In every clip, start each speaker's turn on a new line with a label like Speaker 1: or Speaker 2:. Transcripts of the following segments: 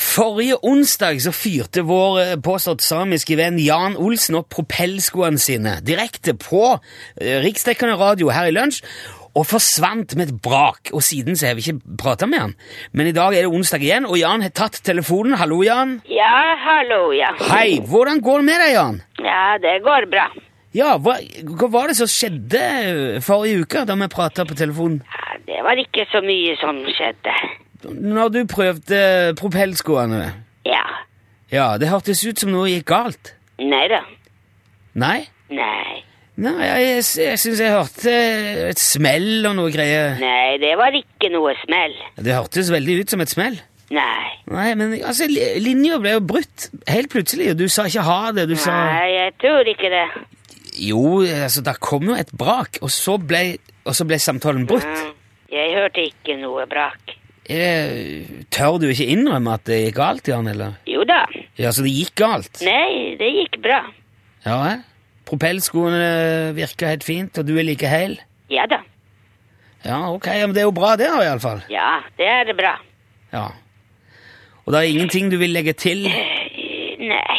Speaker 1: Forrige onsdag så fyrte vår eh, påstått samiske venn Jan Olsen opp propellskoene sine direkte på eh, riksdekkende radio her i lunsj, og forsvant med et brak. Og siden så har vi ikke prata med han. Men i dag er det onsdag igjen, og Jan har tatt telefonen. Hallo, Jan.
Speaker 2: Ja, hallo, ja.
Speaker 1: Hei, hvordan går det med deg, Jan?
Speaker 2: Ja, det går bra.
Speaker 1: Ja, hva, hva var det som skjedde eh, forrige uke da vi prata på telefonen?
Speaker 2: Ja, det var ikke så mye som skjedde.
Speaker 1: Når du prøvde propellskoene?
Speaker 2: Ja.
Speaker 1: Ja, det hørtes ut som noe gikk galt.
Speaker 2: Nei da.
Speaker 1: Nei?
Speaker 2: Nei.
Speaker 1: Nei, jeg, jeg, jeg syns jeg hørte et smell og noe greier.
Speaker 2: Nei, det var ikke noe smell.
Speaker 1: Det hørtes veldig ut som et smell.
Speaker 2: Nei.
Speaker 1: Nei, men altså, li- linja ble jo brutt helt plutselig, og du sa ikke ha det, du sa
Speaker 2: Nei, jeg tror ikke det.
Speaker 1: Jo, altså, der kom jo et brak, og så ble, og så ble samtalen brutt.
Speaker 2: Mm, Jeg hørte ikke noe brak.
Speaker 1: Eh, Tør du ikke innrømme at det gikk galt, Jan, eller?
Speaker 2: Jo da.
Speaker 1: Ja, så det gikk galt?
Speaker 2: Nei, det gikk bra.
Speaker 1: Ja, eh? Propellskoene virker helt fint, og du er like heil?
Speaker 2: Ja da.
Speaker 1: Ja, ok, ja, men det er jo bra det, da, iallfall.
Speaker 2: Ja, det er bra.
Speaker 1: Ja. Og det er ingenting du vil legge til?
Speaker 2: Eh, Nei.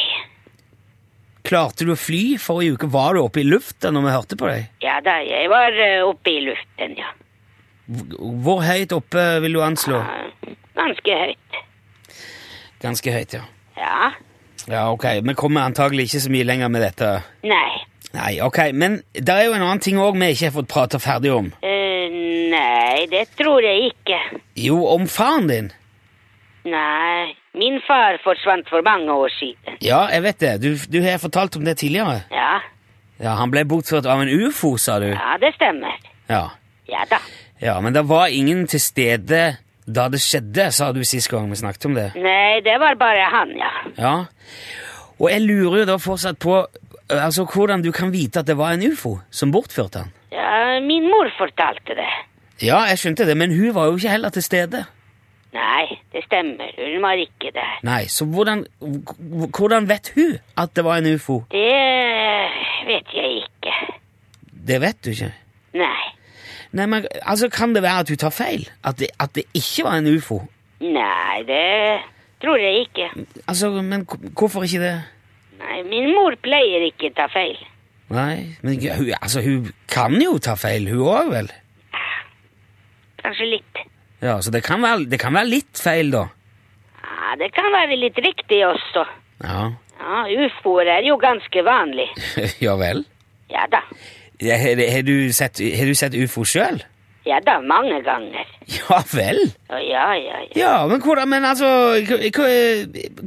Speaker 1: Klarte du å fly? Forrige uke var du oppe i lufta når vi hørte på deg.
Speaker 2: Ja da, jeg var eh, oppe i luften, ja.
Speaker 1: Hvor- Hvor høyt oppe vil du anslå?
Speaker 2: Eh, Ganske høyt.
Speaker 1: Ganske høyt, ja.
Speaker 2: Ja.
Speaker 1: Ja, ok, Vi kommer antagelig ikke så mye lenger med dette.
Speaker 2: Nei.
Speaker 1: Nei, ok, Men det er jo en annen ting òg vi ikke har fått prata ferdig om.
Speaker 2: Eh, nei, det tror jeg ikke.
Speaker 1: Jo, om faren din.
Speaker 2: Nei, min far forsvant for mange år siden.
Speaker 1: Ja, jeg vet det. Du, du har fortalt om det tidligere.
Speaker 2: Ja,
Speaker 1: Ja, Han ble bortført av en ufo, sa du.
Speaker 2: ja det stemmer.
Speaker 1: Ja.
Speaker 2: Ja da.
Speaker 1: ja, Men det var ingen til stede da det skjedde, sa du sist gang vi snakket om det.
Speaker 2: Nei, det var bare han, ja.
Speaker 1: Ja. Og jeg lurer jo da fortsatt på ø, altså, hvordan du kan vite at det var en ufo som bortførte han.
Speaker 2: ja. Min mor fortalte det.
Speaker 1: Ja, jeg skjønte det, men hun var jo ikke heller til stede.
Speaker 2: Nei, det stemmer. Hun var ikke der.
Speaker 1: Nei, så hvordan, h- hvordan vet hun at det var en ufo?
Speaker 2: Det vet jeg ikke.
Speaker 1: Det vet du ikke.
Speaker 2: Nei.
Speaker 1: Nei, men altså, Kan det være at hun tar feil? At det, at det ikke var en ufo?
Speaker 2: Nei, det tror jeg ikke.
Speaker 1: Altså, Men h- hvorfor ikke det?
Speaker 2: Nei, min mor pleier ikke ta feil.
Speaker 1: Nei, men g- hun, altså, hun kan jo ta feil, hun òg, vel?
Speaker 2: Kanskje litt.
Speaker 1: Ja, Så det kan, være, det kan være litt feil, da.
Speaker 2: Ja, det kan være litt riktig også.
Speaker 1: Ja,
Speaker 2: Ja, ufoer er jo ganske vanlig.
Speaker 1: ja vel?
Speaker 2: Ja da.
Speaker 1: Ja, Har har du sett, har du sett ufo sjøl?
Speaker 2: Ja da, mange ganger.
Speaker 1: Ja vel?
Speaker 2: Å, Ja, ja, ja.
Speaker 1: Ja, men hvordan Men altså Hva, hva,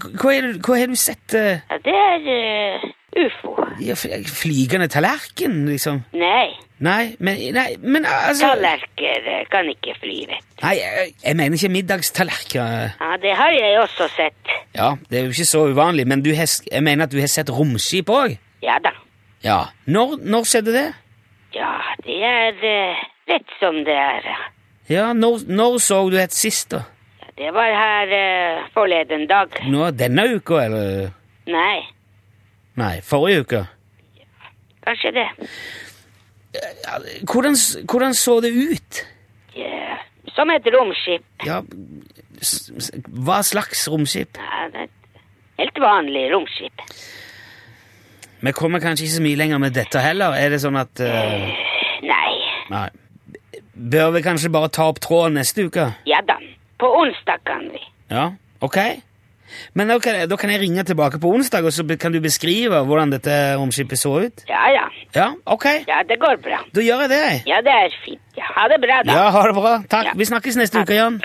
Speaker 1: hva, er det- hva har du sett? eh,
Speaker 2: Ja, det er eh, ufo.
Speaker 1: ja, f- Flygende tallerken, liksom?
Speaker 2: Nei,
Speaker 1: Nei, men, nei, men altså
Speaker 2: tallerker eh, kan ikke fly, vet du.
Speaker 1: Nei, jeg, jeg mener ikke middagstallerkener.
Speaker 2: Ja, det har jeg også sett.
Speaker 1: Ja, det er jo ikke så uvanlig, men du har, s- jeg mener at du har sett romskip òg?
Speaker 2: Ja da.
Speaker 1: Ja. Når, når skjedde det?
Speaker 2: Ja, det er eh, rett som det er. ja.
Speaker 1: Ja, når, når så du et sist, da?
Speaker 2: Ja, det var her eh, forleden dag.
Speaker 1: Nå, denne uka, eller?
Speaker 2: Nei,
Speaker 1: Nei, forrige uke.
Speaker 2: kanskje det.
Speaker 1: Ja, Hvordan, s- hvordan så det ut?
Speaker 2: Ja, som et romskip.
Speaker 1: Ja, s- s- hva slags romskip?
Speaker 2: Ja, det er et helt vanlig romskip.
Speaker 1: Vi kommer kanskje ikke så mye lenger med dette heller. Er det sånn at eh,
Speaker 2: Nei,
Speaker 1: Nei. Bør vi kanskje bare ta opp tråden neste uke?
Speaker 2: ja da. På onsdag kan vi.
Speaker 1: Ja, ok. Men da kan, da kan jeg ringe tilbake på onsdag, og så be- kan du beskrive hvordan dette romskipet så ut?
Speaker 2: Ja, ja.
Speaker 1: Ja, ok.
Speaker 2: Ja, det går bra.
Speaker 1: Da gjør jeg det. jeg.
Speaker 2: Ja, det er fint. Ja, ha det bra, da.
Speaker 1: Ja, ha det bra. Takk.
Speaker 2: Ja.
Speaker 1: Vi snakkes neste uke, Jan.